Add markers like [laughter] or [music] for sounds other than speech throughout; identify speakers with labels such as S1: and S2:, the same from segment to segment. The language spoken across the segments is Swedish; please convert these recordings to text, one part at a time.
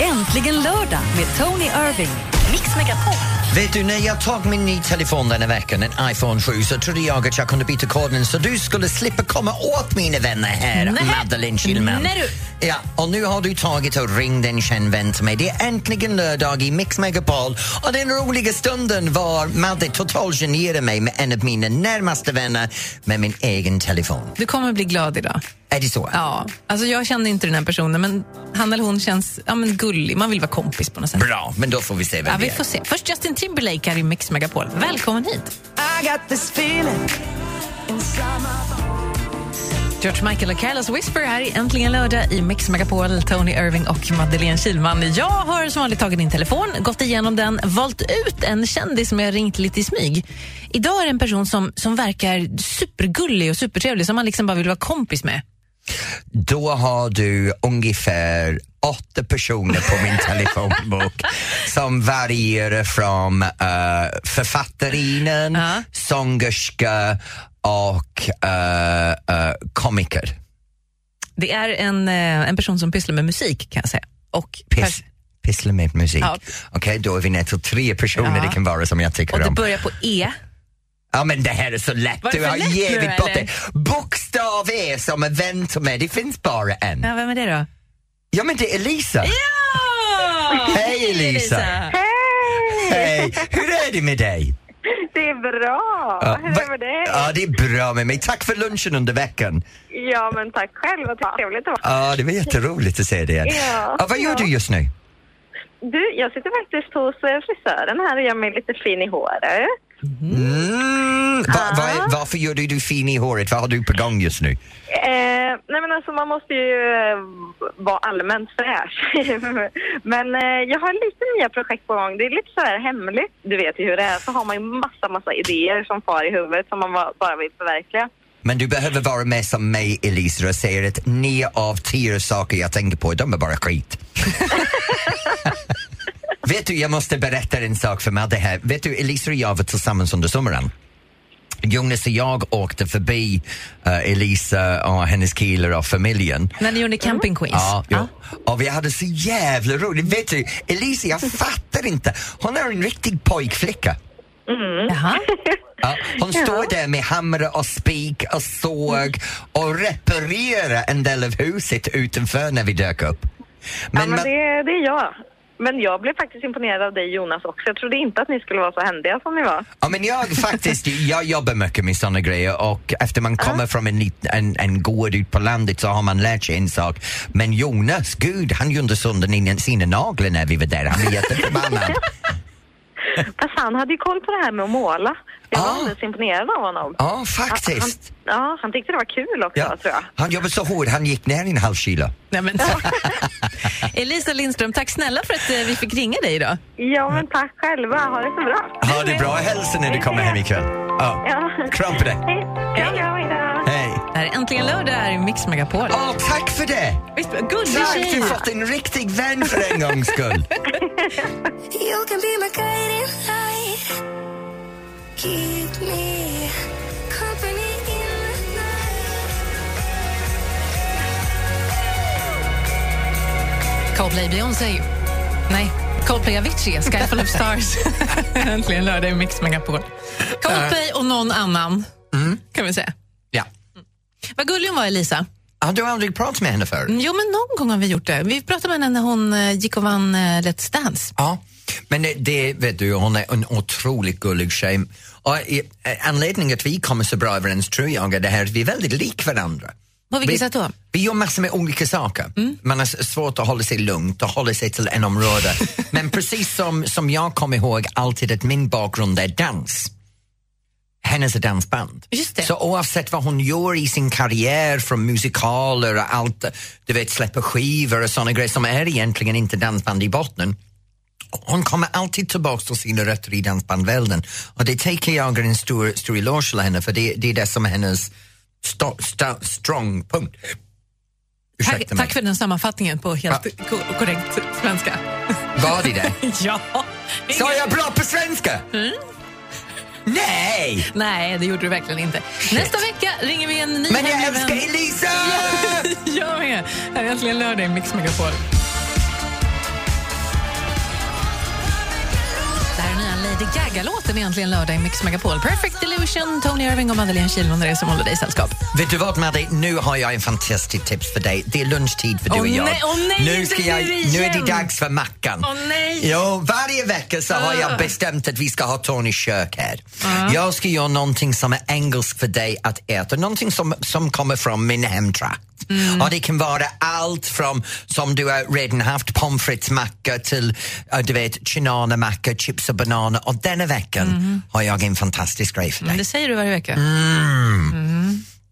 S1: Äntligen lördag med Tony Irving. Mix Megapol.
S2: Vet du, när jag tog min nya telefon denna veckan, en iPhone 7, så trodde jag att jag kunde byta koden så du skulle slippa komma åt mina vänner här,
S3: Nej.
S2: Madeleine Kilman.
S3: Nej, du.
S2: Ja, och nu har du tagit och ringt en känd vän till mig. Det är äntligen lördag i Mix Megapol och den roliga stunden var Madde totalgenerade mig med en av mina närmaste vänner med min egen telefon.
S3: Du kommer bli glad idag.
S2: Är det så?
S3: Ja, alltså jag kände inte den här personen, men han eller hon känns ja, men gullig. Man vill vara kompis på något sätt.
S2: Bra, men då får vi se vem
S3: Ja,
S2: det
S3: vi
S2: är.
S3: får se. Först Justin Timberlake här i Mix Megapol. Välkommen hit!
S4: I got this feeling inside my
S3: George Michael och Carlos Whisper här i Äntligen lördag i Mix Megapol. Tony Irving och Madeleine Kilman. Jag har som vanligt tagit din telefon, gått igenom den, valt ut en kändis som jag ringt lite i smyg. Idag är det en person som, som verkar supergullig och supertrevlig som man liksom bara vill vara kompis med.
S2: Då har du ungefär åtta personer
S3: [laughs]
S2: på min telefonbok som varierar från eh, författarinnan,
S3: Ja.
S2: sångerska och eh, eh, komiker.
S3: Det är en, eh, en person som pysslar med musik kan jag säga. Och
S2: Piss, pysslar med musik.
S3: Ja.
S2: Okej, då är vi ner till tre personer
S3: Ja.
S2: det kan vara som jag
S3: Och
S2: tycker
S3: det
S2: om.
S3: börjar på E.
S2: Ja men det här är så lätt,
S3: Var det
S2: du
S3: för
S2: har
S3: lätt nu,
S2: givit bort
S3: eller?
S2: det. Bokstav E som är vän till mig, det finns bara en. Ja,
S3: Ja, vem är det då?
S2: men det är Lisa.
S3: Ja!
S2: Hej Lisa! Hej! Hur är det med dig?
S5: Det är bra!
S2: Ja,
S5: Hur är det
S2: va-
S5: med dig?
S2: Ja, det är bra med mig. Tack för lunchen under veckan.
S5: Ja, men tack själv. Vad trevligt det var.
S2: Ja, det var jätteroligt att se dig igen.
S5: Ja,
S2: Ja, vad gör
S5: ja. Mm.
S2: du just nu?
S5: Du, jag sitter faktiskt hos eh, frisören här och gör mig lite fin i håret.
S2: Mm. Va,
S5: Ja.
S2: va, varför gör du dig fin i håret? Vad har du på gång just nu?
S5: Eh, nej, men alltså man måste ju eh, vara allmänt fräsch. [laughs] men eh, jag har lite nya projekt på gång. Det är lite så här hemligt. Du vet ju hur det är. Så har man ju massa, massa idéer som far i huvudet som man va- bara vill förverkliga.
S2: Men du behöver vara med som mig, Elisa, och säga att nio av tio saker jag tänker på, de är bara skit. [laughs] Vet du, jag måste berätta en sak för Madde här. Vet du, Elisa och jag var tillsammans under sommaren. Jonas och jag åkte förbi eh, Elisa och hennes killar och familjen.
S3: När ni gjorde Camping Queens.
S2: Ja, ja. Och vi hade så jävla roligt. Vet du, Elisa, jag fattar inte. Hon är en riktig pojkflicka.
S3: Jaha.
S2: Ja, hon står där med hammare och spik och såg och reparerar en del av huset utanför när vi dök upp.
S5: Men, ja, men
S2: Ma-
S5: det, det är jag. Men jag blev faktiskt imponerad av dig Jonas också. Jag trodde inte att ni skulle vara så händiga som ni var.
S2: Ja, men jag faktiskt, jag jobbar mycket med såna grejer och efter man kommer från en, lit- en, en gård ut på landet så har man lärt sig en sak. Men Jonas, gud, han gjorde sönder in- sina naglar när vi var där. Han var
S5: [laughs]
S2: jätteförbannad.
S5: Fast han hade ju koll på det här med att måla. Jag var
S2: Ah.
S5: alldeles imponerad av honom.
S2: Ja,
S5: Han, han,
S2: faktiskt.
S5: ja, han tyckte det var kul också,
S2: Ja.
S5: tror jag.
S2: Han jobbade så hårt, han gick ner en halv kilo.
S3: Nej, men. [laughs] Elisa Lindström, tack snälla för att eh, vi fick ringa dig idag.
S5: Ja, men tack själva. Ha det så bra.
S2: Mm. Ha det bra, hälsa när du kommer hem ikväll. Ja.
S5: Ja.
S2: Kram på dig.
S5: Hej. Ja, ja, hej då.
S2: Hej.
S3: Det här är Äntligen lördag här i Mix Megapol.
S2: Åh, tack för det!
S3: Visst, gullig
S2: Tack,
S3: tjej!
S2: du har fått en riktig vän för en gångs skull.
S6: You can be my guiding light. Keep me company in the night.
S3: Coldplay Beyoncé. Nej, Coldplay Avicii, Sky Full of Stars. [laughs] Äntligen lördag i Mix Megapol. Coldplay och någon annan,
S2: Mm.
S3: kan vi säga.
S2: Ja.
S3: Vad gullig hon var, Elisa.
S2: Har du aldrig pratat med henne förut?
S5: Mm.
S3: Jo, men någon gång har vi gjort det. Vi pratade med henne när hon eh, gick och vann eh, Let's Dance.
S2: Ja, men det, det vet du, hon är en otroligt gullig tjej. Och i- eh, anledningen att vi kommer så bra överens tror jag är det här att vi är väldigt lika varandra.
S3: På vilket
S2: vi,
S3: sätt då? Mm.
S2: Vi gör massor med olika saker. Man har s- svårt att hålla sig lugnt och hålla sig till
S3: [laughs]
S2: en område. men precis som, som jag kommer ihåg alltid att min bakgrund är dans. Hennes är dansband.
S3: Just det.
S2: Så oavsett vad hon gör i sin karriär från musikaler och allt, du vet släppa skivor och såna grejer som är egentligen inte dansband i botten. Hon kommer alltid tillbaka till sina rötter i dansbandvärlden och det tänker jag är en stor, stor eloge till henne för det, det är det som är hennes sta, sta, strong punkt. Ursäkta
S3: Tack,
S2: mig.
S3: tack för den sammanfattningen på helt ko- korrekt svenska. [laughs]
S2: Var det det?
S3: Ja.
S2: Sa jag bra på svenska? Nej!
S3: Nej, det gjorde du verkligen inte. Nästa vecka ringer vi en ny
S2: Men jag
S3: hemlig vän. [laughs]
S2: älskar Elisa!
S3: Jag med. Här är äntligen lördag i Mix Megapol. Lady Gaga-låten egentligen lördag i Mix Megapol. Perfect Illusion, Tony Irving och Madeleine Kihlman är det som håller dig sällskap.
S2: Vet du vad Madde, nu har jag en fantastisk tips för dig. Det är lunchtid för du
S3: Åh
S2: och jag.
S3: nej, åh nej,
S2: nu,
S3: inte
S2: ska
S3: nu
S2: jag nu är
S3: igen.
S2: det dags för mackan.
S3: Åh nej. Ah.
S2: Jo, varje vecka så har jag bestämt att vi ska ha Tonys kök här. Jag ska göra någonting som är engelskt för dig att äta, någonting som, som kommer från min hemtrakt.
S3: Mm.
S2: Och det kan vara allt från, som du har redan haft, pommes frites-macka till eh, du vet, macka chips och bananer. Och denna veckan
S3: Mm.
S2: har jag en fantastisk grej för dig.
S3: Det säger du varje vecka.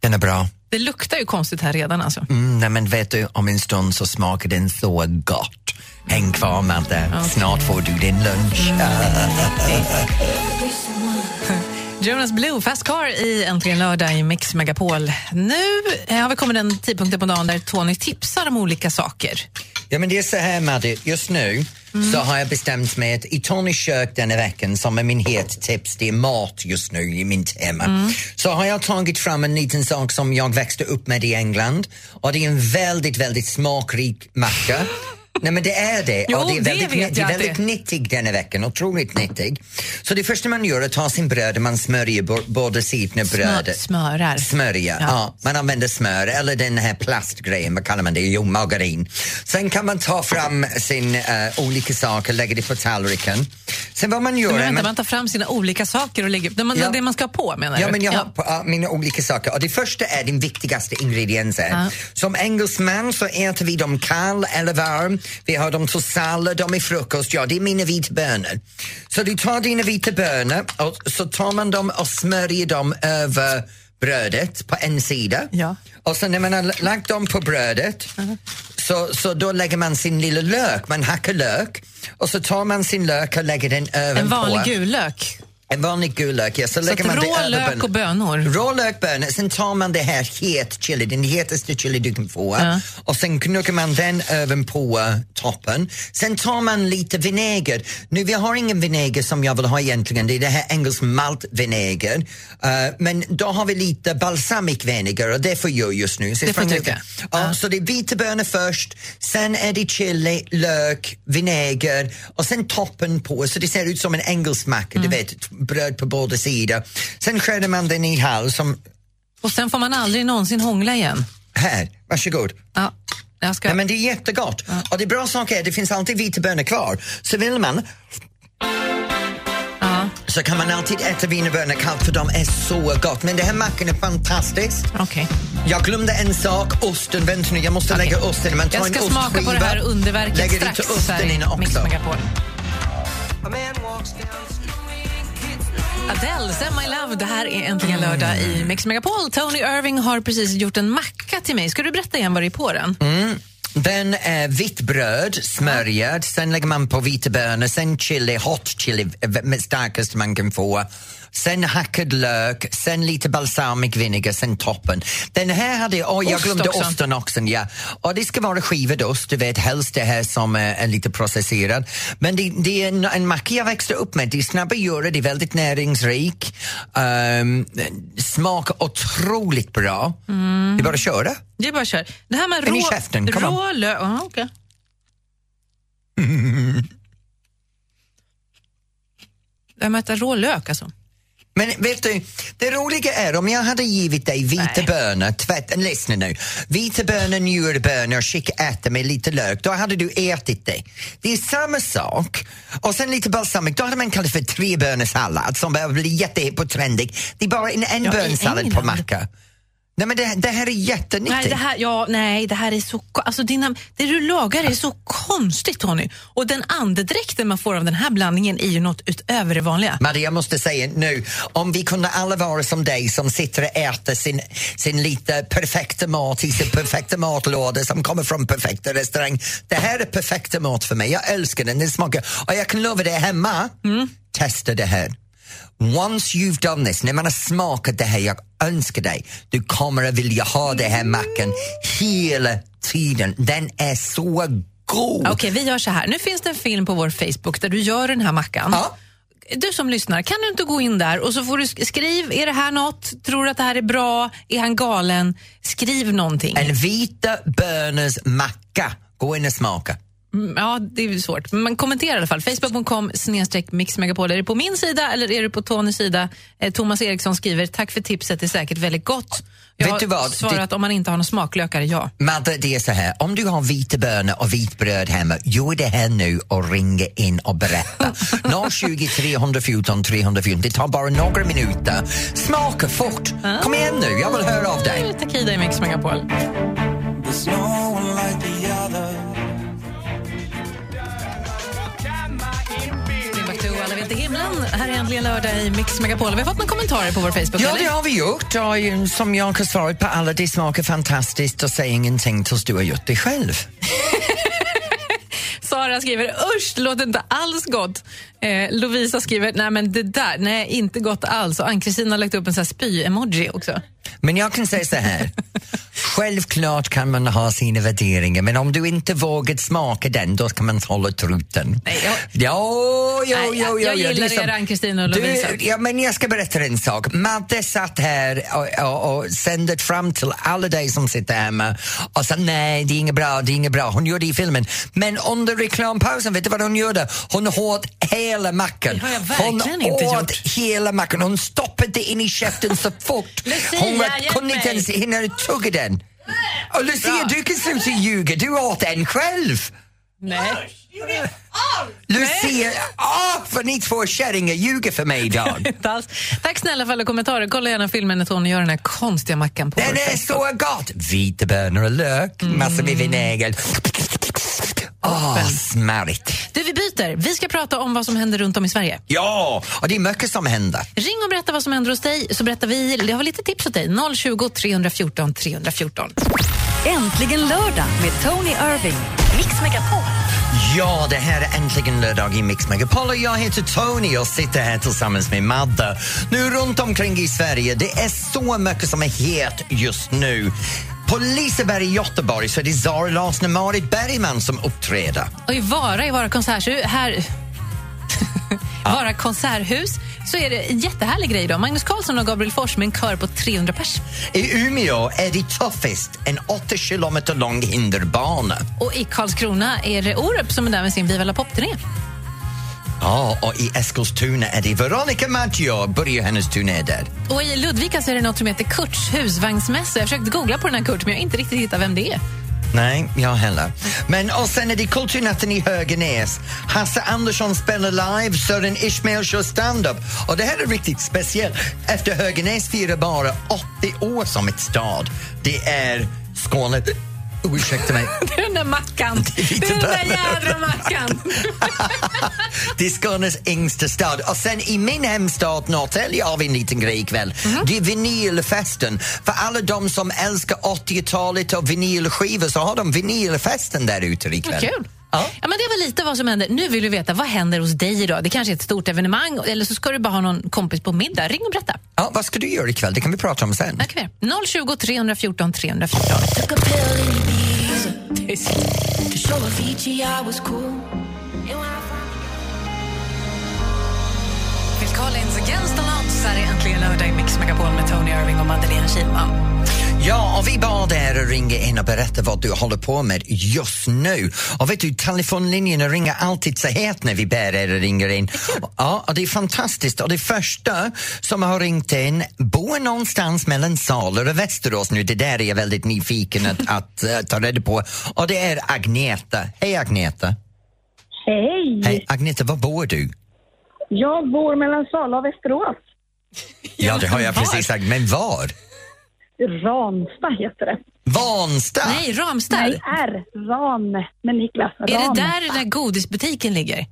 S2: Den är bra.
S3: Det luktar ju konstigt här redan alltså.
S2: Mm, nej, men vet du, om en stund så smakar den så gott. Häng kvar Madde, snart får du din lunch.
S3: Jonas Blue, Fast Car i Äntligen lördag i Mix Megapol. Nu eh, har vi kommit den tidpunkten på dagen där Tony tipsar om olika saker.
S2: Ja, men det är så här Madde, just nu
S3: Mm.
S2: så har jag bestämt mig att i Tonys kök denna veckan, som är min het tips, det är mat just nu i min tema.
S3: Mm.
S2: Så har jag tagit fram en liten sak som jag växte upp med i England och det är en väldigt, väldigt smakrik macka. Nej men det är det.
S3: Jo,
S2: och det är
S3: det
S2: väldigt,
S3: vet jag
S2: det är
S3: att
S2: väldigt
S3: det är.
S2: nyttig denna veckan, otroligt nyttig. Så det första man gör är att ta sin bröd och man smörjer bo- båda sidorna av
S3: Smör,
S2: brödet.
S3: smörar.
S2: Smörja, ja. Man använder smör eller den här plastgrejen, vad kallar man det? Jo, margarin. Sen kan man ta fram sin eh, olika saker, lägga det på tallriken. Sen vad man gör...
S3: Men
S2: är
S3: vänta,
S2: man-
S3: man tar fram sina olika saker och lägger upp. Det man,
S2: Ja.
S3: det man ska ha på menar
S2: Ja,
S3: du?
S2: men jag har
S3: Ja.
S2: på, ja, mina olika saker. Och det första är den viktigaste ingrediensen.
S3: Ja.
S2: Som engelsman så äter vi dem kall eller varm. Vi har dem till sallad, de är frukost. Ja, det är mina vitbönor. Så du tar dina vita bönor och så tar man dem och smörjer dem över brödet på en sida.
S3: Ja.
S2: Och sen när man har l- lagt dem på brödet så, så då lägger man sin lilla lök, man hackar lök och så tar man sin lök och lägger den över
S3: En vanlig
S2: på.
S3: gul lök.
S2: En vanlig gul lök, ja. Så,
S3: Så
S2: lägger
S3: att
S2: man det
S3: rå
S2: över
S3: lök
S2: bönor.
S3: och bönor.
S2: Rå lökbönor, sen tar man det här het chili, den hetaste chili du kan få
S3: Ja.
S2: och sen knuggar man den ovanpå eh, toppen. Sen tar man lite vinäger. Nu, vi har ingen vinäger som jag vill ha egentligen, det är det här engelsk maltvinäger. Eh, men då har vi lite balsamic vinegar och det får jag just nu.
S3: Det
S2: Så
S3: får
S2: sprang
S3: du
S2: ut-
S3: tycka.
S2: Ja, Så det är vita bönor först, sen är det chili, lök, vinäger och sen toppen på så det ser ut som en engelsk macka,
S3: Mm.
S2: du vet, t- bröd på båda sidor. Sen skär man den i halv som
S3: Och sen får man aldrig någonsin hångla igen.
S2: här, varsågod.
S3: Ja, jag ska...
S2: Ja, men det är jättegott. Och det bra saker är det finns alltid vita bönor kvar. Så vill man
S3: ja.
S2: så kan man alltid äta wienerbönor kallt för de är så gott. Men det här mackan är fantastisk.
S3: Okej.
S2: Jag glömde en sak, osten. Vänta nu, jag måste
S3: Okej.
S2: lägga osten. Man tar
S3: Jag ska
S2: en
S3: smaka på det här
S2: ostskiva,
S3: underverket
S2: lägger
S3: strax.
S2: lite osten
S3: här i
S2: in
S3: Mix
S2: också.
S3: Megapol. Adele, Send My Love. Det här är äntligen lördag i Mix Megapol. Tony Irving har precis gjort en macka till mig. Ska du berätta igen vad det är på den?
S2: Mm. Den är vitt bröd, smörjad, sen lägger man på vita bönor, sen chili, hot chili, eh, med starkaste man kan få. Sen hackad lök, sen lite balsamic vinegar, sen toppen. Den här hade jag, oh, jag
S3: Ost
S2: glömde
S3: också.
S2: osten också. Ja. Och det ska vara skivad ost, du vet helst det här som är, är lite processerad. Men det, det är en, en macka jag växte upp med, det är snabba att göra, det är väldigt näringsrik, um, smakar otroligt bra.
S3: Mm.
S2: Det är bara att köra.
S3: Det är bara att köra. Det här med
S2: Den i
S3: rå,
S2: käften, kom
S3: rå lök... Aha,
S2: [laughs]
S3: okej. Det här med att äta rå lök alltså.
S2: Men vet du, det roliga är om jag hade givit dig vita
S3: Nej.
S2: bönor, tvätt, lyssna nu, vita bönor, njurbönor, kikärtor med lite lök, då hade du ätit det. Det är samma sak. Och sen lite balsamic, då hade man kallat för trebönssallad som börjar bli jättehett på trendig. Det är bara en
S3: Ja, i
S2: enbönssallad på
S3: England.
S2: macka. Nej men det, det här är jättenyttigt.
S3: Nej det, här, ja, nej, det här är så... ko- Alltså dina, det du lagar är så konstigt, Tony. Och den andedräkten man får av den här blandningen är ju något utöver det vanliga.
S2: Maria, jag måste säga nu, om vi kunde alla vara som dig som sitter och äter sin, sin lite perfekta mat i sin perfekta matlåda som kommer från perfekta restaurang. Det här är perfekta mat för mig. Jag älskar den, den smakar. Och jag kan lova dig hemma, testa det här. Once you've done this, när man har smakat det här, jag önskar dig, du kommer att vilja ha det här mackan hela tiden. Den är så god!
S3: Okej, vi gör så här. Nu finns det en film på vår Facebook där du gör den här mackan.
S2: Ja.
S3: Du som lyssnar, kan du inte gå in där och så får du sk- skriv, är det här något? Tror du att det här är bra? Är han galen? Skriv någonting.
S2: En vita bönors macka, gå in och smaka.
S3: Mm, Ja, det är ju svårt. Men kommentera i alla fall. Facebook.com snedstreck mixmegapol. Är det på min sida eller är det på Tonys sida? Eh, Thomas Eriksson skriver, tack för tipset, det är säkert väldigt gott. Jag
S2: Vet
S3: har
S2: du vad?
S3: svarat om man inte har någon smaklökar, ja.
S2: Madde, det är så här. Om du har vita bönor och vitbröd hemma, gör det här nu och ring in och [laughs] berätta. 020 314 314. Det tar bara några minuter. Smaka fort. Kom igen nu, jag vill höra av dig.
S3: Takida i Mix Megapol.
S4: There's no one like the other.
S3: Timbuktu och alla vet i himlen. Här är äntligen lördag i Mix Megapol. Vi har fått några kommentarer på vår Facebook.
S2: Ja,
S3: eller?
S2: det har vi gjort. Och som jag har svarat på alla, det smakar fantastiskt och säg ingenting tills du har gjort det själv.
S3: Sara skriver usch, det låter inte alls gott. Eh, Lovisa skriver nej men det där, nej inte gott alls. Och Ann-Kristin har lagt upp en sån här spy-emoji också.
S2: Men jag kan säga så [laughs] här. Självklart kan man ha sina värderingar men om du inte vågar smaka den då kan man hålla truten.
S3: Nej, jag-
S2: Jo, jo,
S3: Nej, jag-
S2: jo, jo,
S3: jag
S2: jo,
S3: gillar
S2: lyssna.
S3: er, Ann-Kristin och
S2: Du,
S3: Lovisa.
S2: Ja, men jag ska berätta en sak. Madde satt här och, och, och sände fram till alla dig som sitter hemma och sa nej, det är inget bra, det är inget bra. Hon gjorde det i filmen. Men under reklampausen, vet du vad hon gjorde? Hon åt hela mackan.
S3: Det har jag
S2: Hon
S3: verkligen inte
S2: åt
S3: gjort.
S2: hela mackan. Hon stoppade det in i käften så fort.
S3: [laughs] Lucia,
S2: hon
S3: hjälp
S2: kunde inte
S3: mig.
S2: ens hinna tugga den. Och Lucia, du kan sluta ljuga. Du åt en själv.
S3: Nej.
S2: Lucia, åh, ah, för ni två kärringar ljuger för
S3: [laughs]
S2: mig idag.
S3: Inte alls. Tack snälla för alla kommentarer. Kolla gärna filmen när Tony gör den här konstiga mackan på
S2: Den
S3: vår
S2: är
S3: fest.
S2: så gott! Vita bönor och lök, Ah, massor med vinägel. Åh, smärigt.
S3: Du, vi byter. Vi ska prata om vad som händer runt om i Sverige.
S2: Ja, och det är mycket som händer.
S3: Ring och berätta vad som händer hos dig, så berättar vi. Jag har lite tips åt dig. 020 314 314.
S1: Äntligen lördag med Tony Irving. Mix Megapol.
S2: Ja, det här är äntligen lördag i Mix Megapol och jag heter Tony och sitter här tillsammans med Madde. Nu runt omkring i Sverige, det är så mycket som är het just nu. På Liseberg i Göteborg så är det Zara Larsson och Marit Bergman som uppträder.
S3: Och i Vara, i Vara konserthus, här... [laughs] Vara konserthus så är det en jättehärlig grej idag. Magnus Karlsson och Gabriel Fors med en kör på 300 pers.
S2: I Umeå är det Toughest, en 80 kilometer lång hinderbana.
S3: Och i Karlskrona är det Orup som är där med sin Viva La Pop-turné.
S2: Ja, och i Eskilstuna är det Veronica Maggio börjar hennes turné där.
S3: Och i Ludvika så är det något som heter Kurts husvagnsmässa. Jag försökte googla på den här Kurt, men jag har inte riktigt hittat vem det är. [laughs]
S2: Nej, jag heller. Men och sen är det Kulturnatten i Höganäs. Hasse Andersson spelar live, Sören Ismail kör stand-up. Och det här är riktigt speciellt. Efter Höganäs firar bara 80 år som ett stad. Det är Skåne... Ursäkta mig.
S3: Det är den där mackan. [laughs] Det är den där jädra mackan.
S2: Det är Skånes yngsta stad. Och sen i min hemstad Norrtälje har vi en liten grej ikväll. Det är vinylfesten. För alla de som älskar 80-talet och vinylskivor så har de vinylfesten där ute ikväll.
S3: Kul.
S2: Ja.
S3: Ja, men det var lite vad som hände. Nu vill vi veta vad händer hos dig idag. Det kanske är ett stort evenemang eller så ska du bara ha någon kompis på middag. Ring och berätta.
S2: Ja, vad ska du göra ikväll? Det kan vi prata om sen.
S3: Tack för det. 020 314 314.
S6: Took a pill in Ibiza to show a Fiji I was cool.
S3: Phil Collins, Against the Odds. Här är äntligen lördag i Mix Megapol med Tony Irving och Madeleine Kihlman.
S2: Ja, och vi bad er att ringa in och berätta vad du håller på med just nu. Och vet du, telefonlinjerna ringer alltid så het när vi ber er att
S3: [laughs]
S2: ringa in. Ja, och det är fantastiskt. Och det första som har ringt in bor någonstans mellan Saler och Västerås nu. Det där är jag väldigt
S3: [laughs]
S2: nyfiken att, att eh, ta reda på. Och det är Agneta. Hej Agneta!
S7: Hej!
S2: Hej Agneta, var bor du?
S7: Jag bor mellan Sala och Västerås.
S2: Ja, det har jag
S3: var?
S2: precis sagt. Men var?
S7: Ramsta heter det.
S2: Vansta!
S3: Nej, Ramstad.
S7: Nej, R. Ram med Niklas. Ram.
S3: Är det där den där godisbutiken ligger?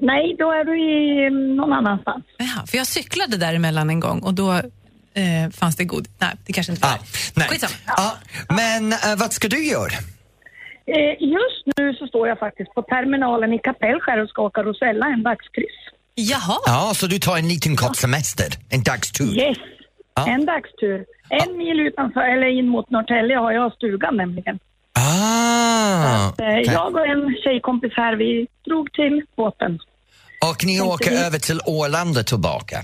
S7: Nej, då är du i mm, någon annanstans.
S3: Jaha, för jag cyklade däremellan en gång och då eh, fanns det god. Nej, det kanske inte var.
S2: Ah, nej.
S3: Skitsamma.
S2: Ja, men eh, vad ska du göra?
S7: Eh, just nu så står jag faktiskt på terminalen i Kapellskär och ska åka Rosella en dagskryss.
S3: Jaha.
S2: Ja, så du tar en liten kort semester, en dagstur.
S7: Yes! En dagstur. En mil utanför, eller in mot Norrtälje har jag stugan nämligen.
S2: Ah,
S7: Eh,
S2: okej.
S7: jag och en tjejkompis här, vi drog till båten.
S2: Och ni åker
S7: vi-
S2: över till Ålanda tillbaka.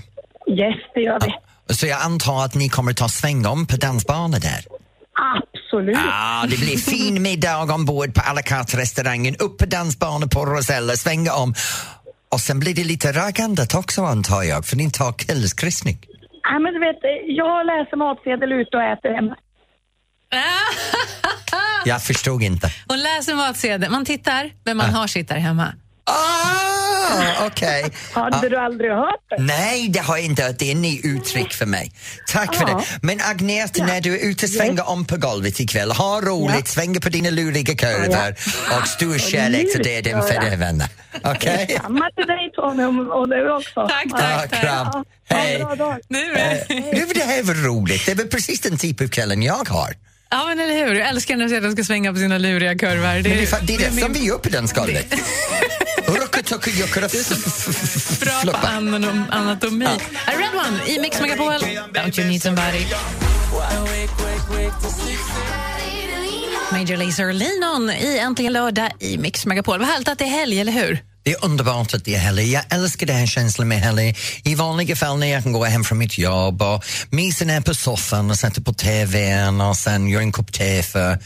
S7: Yes, det gör vi. Mm.
S2: Så jag antar att ni kommer ta sväng om på dansbanan där.
S7: absolut.
S2: Ja, Ah, det blir fin middag ombord på à la carte-restaurangen, upp på dansbanan på Rosella, svänga om. Och sen blir det lite raggandet också antar jag, för ni tar kvällskryssning.
S7: Nej, men du vet, jag läser matsedel ute och äter hemma.
S2: Jag förstod inte.
S3: Ah, Hon läser matsedeln, man tittar, men man har sitt där hemma.
S2: Ah, okej.
S7: Hade
S2: Ja.
S7: du aldrig hört det?
S2: Nej, det har jag inte hört. Det är en ny uttryck för mig. Tack för
S7: Ja.
S2: det. Men Agneta, när du är ute, svänga om på golvet ikväll. Ha roligt, svänga på dina luriga kurvor och stor kärlek till dig och din
S7: lurigt, ja.
S2: fädervänner. Okej?
S7: Samma till dig Tony och- och du också.
S3: Tack,
S7: Ja.
S3: tack.
S2: Ah, kram. Eh.
S7: Ja,
S2: Hej.
S7: bra dag.
S3: Nu
S2: Nu, det här var roligt. Det var precis den typ av kvällen jag har.
S3: Ja, men eller hur? Jag älskar när de ska svänga på sina luriga kurvor. Det
S2: Det är,
S3: är,
S2: fa- det är det som
S3: min-
S2: vi gör på
S7: [laughs]
S2: dansgolvet.
S3: bra
S2: Ruckutuckujuckura
S3: på
S2: fluppa.
S3: anatom- anatomi. A Red One i Mix Megapol. Don't you need somebody. Major Lazer Linon i Äntligen lördag i Mix Megapol. Vad härligt att det är helg, eller hur?
S2: Det är underbart att det är helg. Jag älskar den här känslan med helg. I vanliga fall när jag kan gå hem från mitt jobb och myser ner på soffan och sätter på tvn och sen gör en kopp te för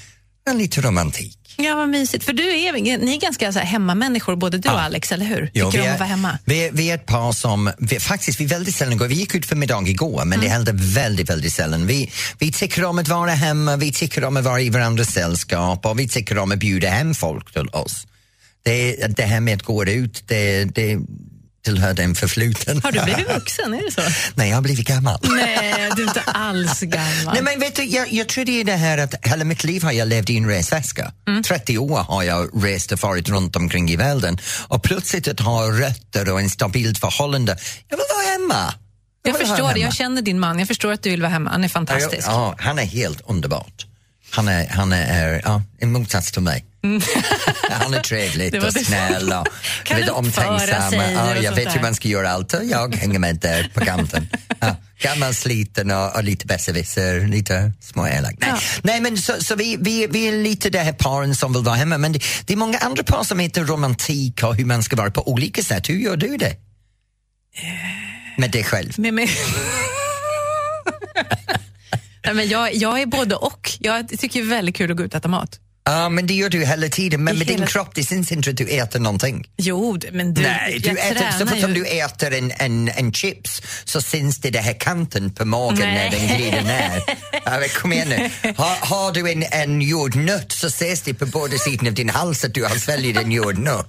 S2: en lite romantik.
S3: Ja, vad mysigt. För du är, ni är ganska så här hemmamänniskor, både du och Alex, eller hur?
S2: Ja,
S3: Tycker
S2: vi
S3: om
S2: är-
S3: att vara hemma?
S2: Vi, vi är ett par som vi, faktiskt vi väldigt sällan går. Vi gick ut för middag igår men
S3: Mm.
S2: det hände väldigt, väldigt sällan. Vi, vi tycker om att vara hemma, vi tycker om att vara i varandras sällskap och vi tycker om att bjuda hem folk till oss. Det, det här med att gå ut, det, det tillhör den förfluten.
S3: Har du blivit vuxen? Är det så?
S2: Nej, jag har blivit gammal.
S3: Nej, du är inte alls gammal.
S2: Nej, men vet du, jag, jag tror det är det här att hela mitt liv har jag levt i en resväska. 30 år har jag rest och farit runt omkring i världen och plötsligt att ha rötter och en stabilt förhållande. Jag vill vara hemma.
S3: jag
S2: vill
S3: förstår
S2: vara
S3: det. Jag
S2: hemma.
S3: känner din man. Jag förstår att du vill vara hemma. Han är fantastisk.
S2: Ja, han är helt underbart. Han är, han är ja, en motsats till mig. [laughs] han är
S3: Det
S2: trevlig
S3: var
S2: och
S3: Mm. [laughs] det.
S2: snäll och
S3: Kan
S2: vet,
S3: uppföra
S2: omtänksam.
S3: sig
S2: Ja,
S3: och
S2: jag
S3: sånt
S2: vet hur
S3: där.
S2: man ska göra allt och jag hänger med där
S3: [laughs]
S2: på kanten. Ja, gammal, sliten och, och lite besserwisser, lite småelak. Nej, Nej men så, så vi, vi, vi är lite det här paren som vill vara hemma men det, det är många andra par som heter romantik och hur man ska vara på olika sätt. Hur gör du det?
S3: Eh.
S2: Med dig själv?
S3: Men, men... [laughs] Nej, men jag, jag är både och. Jag tycker det är väldigt kul att gå ut och äta mat.
S2: Ja, men det gör du hela tiden. Men
S3: I
S2: med din
S3: hela-
S2: kropp, det syns inte att du äter någonting.
S3: Jo, men du,
S2: Nej, du
S3: jag
S2: äter, så
S3: tränar
S2: fort som
S3: ju.
S2: du äter en, en, en chips så syns det den här kanten på magen
S3: Nej.
S2: när den
S3: [laughs]
S2: glider ner. Ja, men kom igen nu. Har, har du en, en jordnöt så ses det på båda sidorna av din hals att du har sväljer en jordnöt.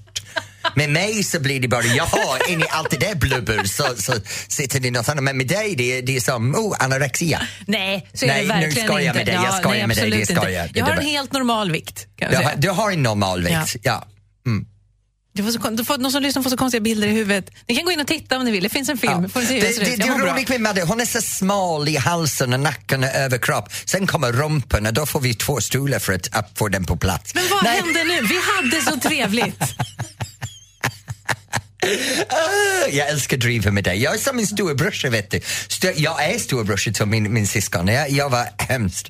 S2: Med mig så blir det bara, jaha, in i allt det där blubber så, så sitter det något annat. Men med dig, det är, det är som oh, anorexia.
S3: Nej, så
S2: Nej,
S3: är
S2: nu
S3: det verkligen
S2: skojar jag
S3: inte.
S2: med dig, jag
S3: Ja,
S2: skojar
S3: nej,
S2: med dig,
S3: absolut
S2: det skojar jag.
S3: Inte. Jag
S2: Det
S3: har en
S2: var-
S3: helt normal vikt. Kan
S2: Du
S3: jag
S2: har,
S3: säga.
S2: du har en normal vikt, ja.
S3: Du får så, kon- du får, någon som lyssnar får så konstiga bilder i huvudet. Ni kan gå in och titta om ni vill. Det finns en film. Får ni se hur jag
S2: Det,
S3: ser ut.
S2: det, det
S3: Jag mår
S2: är
S3: bra.
S2: roligt med Madde, hon är så smal i halsen och nacken och överkropp. Sen kommer rumpen och då får vi två stolar för att, att få den på plats.
S3: Men vad hände nu? Vi hade så
S2: [laughs]
S3: trevligt.
S2: Ah, Jag älskar att driva med dig. Jag är som en storebrorsa vet du. Sto- jag är storebrorsa till min, min syskon. Jag, jag var hemskt.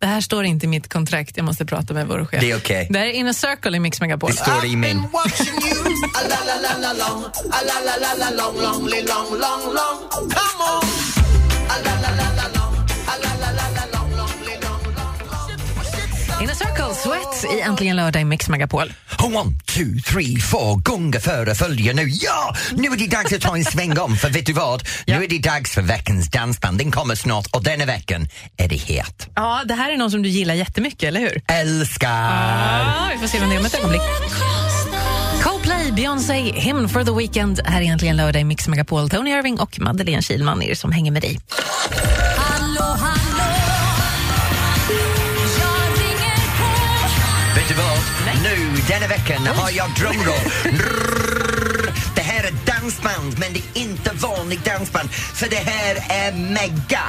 S3: Det här står inte i mitt kontrakt. Jag måste prata med vår chef.
S2: Det är okej.
S3: Det här är Inner Circle i Mix Megapol.
S2: Det står i min.
S3: Ah, Inner Circle, Sweat i Äntligen lördag i Mix Megapol.
S2: One, two, three, four gånger före följer nu. Ja, nu är det dags att ta en sväng om för vet du vad? Nu är det dags för veckans dansband. Den kommer snart och denna veckan är det het.
S3: Ja, det här är någon som du gillar jättemycket, eller hur?
S2: Älskar!
S3: Ja, vi får se vem det är om ett ögonblick. Coldplay, Beyoncé, Him for the Weekend. Här är Äntligen lördag i Mix Megapol. Tony Irving och Madeleine Kilman är det som hänger med dig.
S2: Vet du vad? Nu, denna veckan, har jag drömroll. Det här är dansband, men det är inte vanligt dansband, för det här är mega.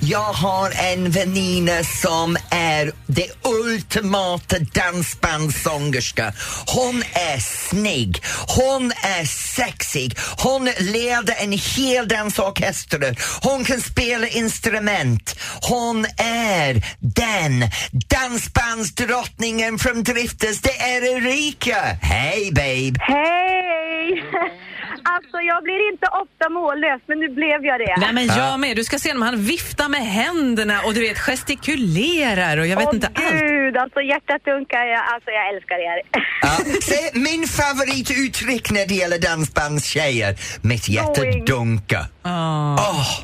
S2: Jag har en väninna som är det ultimata dansbandssångerska. Hon är snygg, hon är sexig, hon leder en hel dansorkester, hon kan spela instrument. Hon är den dansbandsdrottningen från Drifters, det är Erika! Hej babe!
S5: Hej! [laughs] Alltså, jag blir inte ofta mållös, men nu blev jag det.
S3: Nej, men jag med. Du ska se om han viftar med händerna och du vet gestikulerar och jag vet
S5: Åh,
S3: inte allt.
S5: gud, alltså hjärtat dunkar. Jag, alltså, jag älskar er.
S2: Ja, se, min favorituttryck när det gäller dansbandstjejer. Mitt hjärta
S5: Going. Ah.
S2: dunkar.
S3: Ja.
S2: Åh,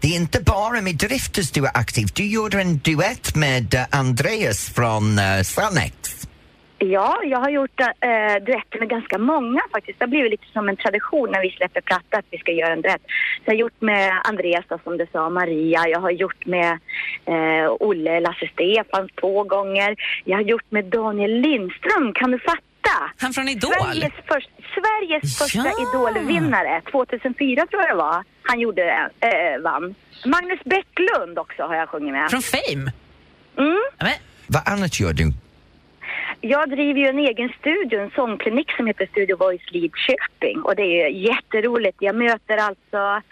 S2: det är inte bara med Driftus du är aktiv. Du gjorde en duett med eh, Andreas från uh, Stranex.
S5: Ja, jag har gjort eh, duetter med ganska många faktiskt. Det har blivit lite som en tradition när vi släpper platta att vi ska göra en duett. Så jag har gjort med Andreas då, som du sa, Maria. Jag har gjort med eh, Olle, Lasse Stefan två gånger. Jag har gjort med Daniel Lindström, kan du fatta?
S3: Han från Idol?
S5: Sveriges, först, Sveriges första
S3: Ja.
S5: idolvinnare, 2004 tror jag det var, han gjorde det, eh, vann. Magnus Bäcklund också har jag sjungit med.
S3: Från Fame?
S5: Mm.
S3: Ja, Men,
S2: Vad annat gör du?
S5: Jag driver ju en egen studio, en sångklinik som heter Studio Voice Lidköping och det är ju jätteroligt. Jag möter alltså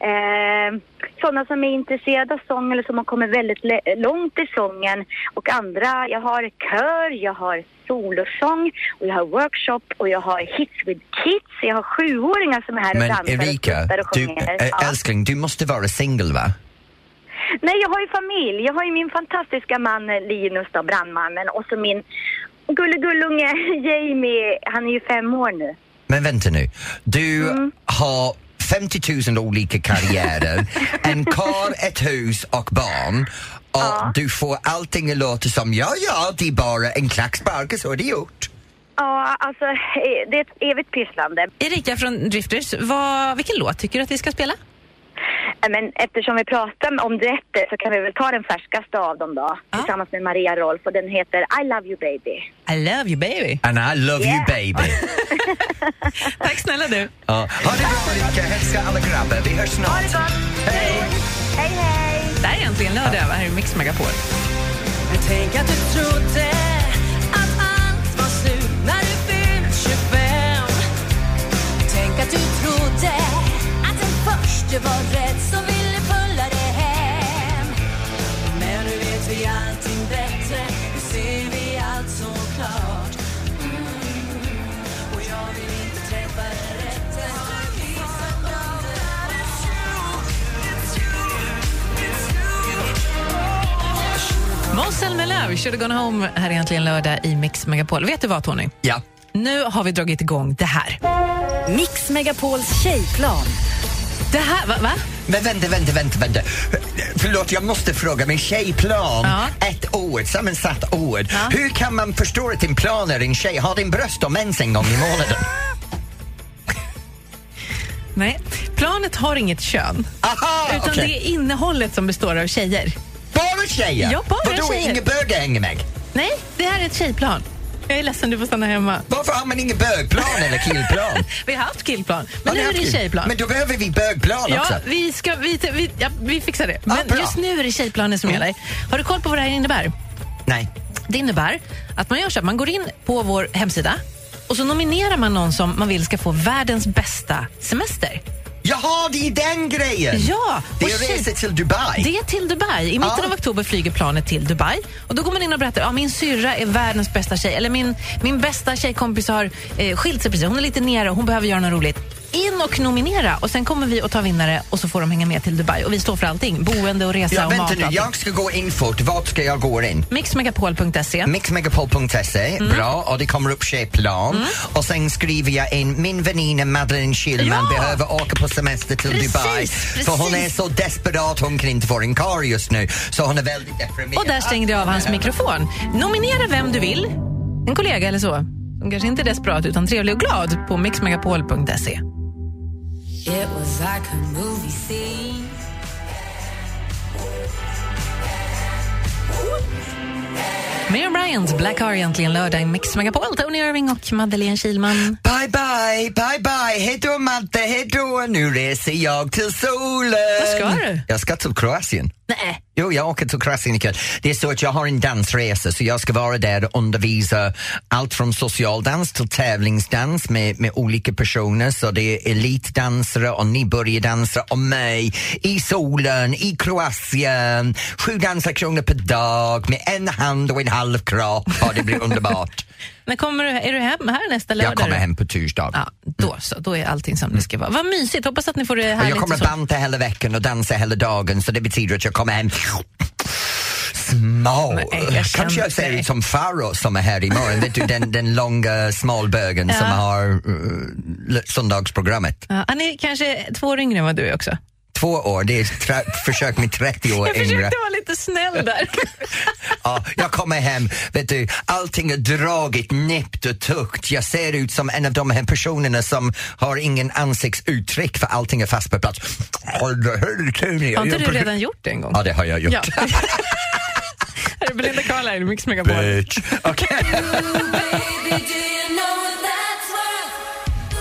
S5: eh, sådana som är intresserade av sång eller som har kommit väldigt le- långt i sången och andra. Jag har kör, jag har solosång och jag har workshop och jag har hits with kids. Jag har sjuåringar som är här och
S2: Men
S5: dansar och
S2: Erika,
S5: skuttar och
S2: du,
S5: sjunger.
S2: eh,
S5: Ja.
S2: älskling, du måste vara singel va?
S5: Nej, jag har ju familj. Jag har ju min fantastiska man eh, Linus, då, brandmannen, och så min gullegullunge [laughs] Jamie. Han är ju fem år nu.
S2: Men vänta nu, du har 50 000 olika karriärer, en kar, ett hus och barn och du får allting att låta som ja, ja, det är bara en klackspark och så är det gjort.
S5: Ja, alltså eh, det är ett evigt pysslande.
S3: Erika från Drifters, vad, vilken låt tycker du att vi ska spela?
S5: Eh, Men eftersom vi pratar om duetter så kan vi väl ta den färskaste av dem då,
S3: Ja.
S5: tillsammans med Maria Rolf, och den heter I love you baby.
S3: I love you baby.
S2: And I love you
S5: Yeah.
S2: baby.
S3: Tack snälla du.
S2: ja. Ha det bra Erika, hälsa alla grabbar, vi hörs snart.
S5: Hej, hej!
S3: Det här är äntligen lördag. Här är Mix Megapol.
S4: Tänk att du trodde att allt var slut när du fyllt 25
S6: Tänk att du trodde att den första var rätt som ville pulla dig hem.
S4: Men nu vet vi allting bättre Nu ser vi allt så klart mm. Och jag vill inte träffa den rätte
S3: Måns Zelmerlöw, Should I Gone Home, här är äntligen lördag i Mix Megapol. Vet du vad Tony?
S2: Ja.
S3: Nu har vi dragit igång det här.
S1: Mix Megapols tjejplan.
S3: Det här, va? va?
S2: Men vänta, vänta, vänta, vänta. Förlåt, jag måste fråga, men tjejplan,
S3: Ja.
S2: ett ord, sammansatt ord.
S3: Ja.
S2: Hur kan man förstå att din plan är en tjej? Har din bröst och mens en gång i månaden?
S3: Nej. Planet har inget kön,
S2: Aha,
S3: utan
S2: okej.
S3: det är innehållet som består av tjejer.
S2: Bara tjejer?
S3: Ja, bara
S2: Vadå,
S3: tjejer.
S2: ingen bög hänger med?
S3: Nej, det här är ett tjejplan. Jag är ledsen, du får stanna hemma.
S2: Varför har man ingen bögplan eller
S3: [laughs]
S2: killplan?
S3: Vi har haft killplan, men
S2: Har
S3: nu
S2: ni
S3: är
S2: haft
S3: det
S2: kill-
S3: tjejplan.
S2: Men då behöver vi bögplan också.
S3: Ja, vi, ska, vi, vi, ja, vi fixar det.
S2: Ja,
S3: Men
S2: bra. Mm.
S3: just nu är det tjejplanen som gäller. Har du koll på vad det här innebär?
S2: Nej.
S3: Det innebär att man gör så här, man går in på vår hemsida och så nominerar man någon som man vill ska få världens bästa semester.
S2: Jaha, det är den grejen!
S3: Ja,
S2: Mm. Det
S3: och
S2: är
S3: tjej-
S2: resor till Dubai.
S3: Det är till Dubai. I mitten
S2: Ja.
S3: av oktober flyger planet till Dubai. Och Då går man in och berättar att ja, min syrra är världens bästa tjej. Eller min, min bästa tjejkompis har eh, skilt sig precis. Hon är lite nere och hon behöver göra något roligt. In och nominera och sen kommer vi och tar vinnare och så får de hänga med till Dubai. Och vi står för allting. Boende och resa
S2: Ja,
S3: och mat.
S2: vänta
S3: och
S2: nu,
S3: allting.
S2: jag ska gå in fort. Vart ska jag gå in?
S3: Mixmegapol.se.
S2: Mixmegapol.se,
S3: Mm.
S2: bra, och det kommer upp tjejplan. Och sen skriver jag in, min väninna Madeleine Schillman
S3: Ja!
S2: behöver åka på semester till
S3: Precis,
S2: Dubai. För hon är
S3: precis.
S2: så desperat, hon kan inte få en karl just nu. Så hon är väldigt deprimerad.
S3: Och där stängde jag av hans mikrofon. Nominera vem du vill. En kollega eller så. Som kanske inte är desperat utan trevlig och glad på mixmegapol.se.
S4: It was like a movie scene
S3: Miriam Bryant, Black Har egentligen lördag i Mix Megapol. Tony Irving och Madeleine Kilman.
S2: Bye, bye, bye, bye. Hej då, Malte. Hej då. Nu reser jag till solen.
S3: Vad ska du?
S2: Jag ska till Kroatien.
S3: Nej.
S2: Jo, jag åker till Kroatien ikväll. Det är så att jag har en dansresa så jag ska vara där och undervisa allt från socialdans till tävlingsdans med, med olika personer. Så det är elitdansare och nybörjardansare och mig i solen, i Kroatien.
S3: [laughs]
S2: Sju danslektioner per dag med en hand och en halv kropp. Ja, det blir underbart.
S3: När kommer du, är du hem här nästa lördag?
S2: Jag kommer
S3: då?
S2: hem på torsdag.
S3: Ja, då så. Då är allting som det ska vara. Vad mysigt. Hoppas att ni får det
S2: Och
S3: härligt.
S2: jag kommer
S3: och så.
S2: banta hela veckan och dansa hela dagen så det betyder att jag kommer hem smal.
S3: Nej, eh, jag känner
S2: Kanske jag ser
S3: dig.
S2: ut som Farao som är här imorgon, vet du den, den långa smalbögen som har uh, söndagsprogrammet.
S3: Ja, han är kanske två år yngre än vad du är också.
S2: Två år, det är tra- försök med 30 år
S3: Jag
S2: yngre.
S3: försökte vara lite snäll
S2: [laughs]
S3: där.
S2: Ja, jag kommer hem, vet du, allting är dragit, näppt och tukt. Jag ser ut som en av de här personerna som har ingen ansiktsuttryck för allting är fast på plats. Ja, det här är Tony.
S3: Har inte
S2: Jag-
S3: du redan gjort det en gång?
S2: Ja, det har jag gjort.
S3: Ja. [laughs] Här är Belinda Carlisle, Mix Megapol.
S2: Bitch. [laughs] Okej.
S6: Baby, do you know that's what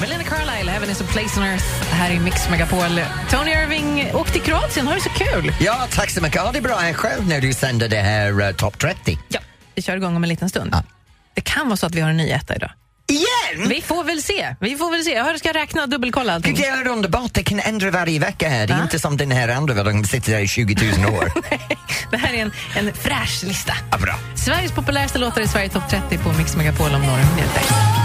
S3: Belinda Carlisle, Heaven is a place on earth. Här är Mix Megapol. Tony Irving, åk till Kroatien, har det så kul!
S2: Ja, tack så mycket. Ja, det är bra. Jag själv när du sänder det här eh, topp 30.
S3: Ja, vi kör igång om en liten stund.
S2: Ja.
S3: Det kan vara så att vi har en ny etta idag.
S2: Igen?
S3: Vi får väl se. Vi får väl se. Jag hör- ska räkna och dubbelkolla allting.
S2: Gud, Det är underbart. Det kan ändra varje vecka här. Det är
S3: Va?
S2: inte som den här andra, där de sitter där i 20 000 år.
S3: [laughs] Det här är en, en fräsch lista.
S2: ja, bra.
S3: Sveriges populäraste låtar i Sverige topp 30 på Mix Megapol om några minuter.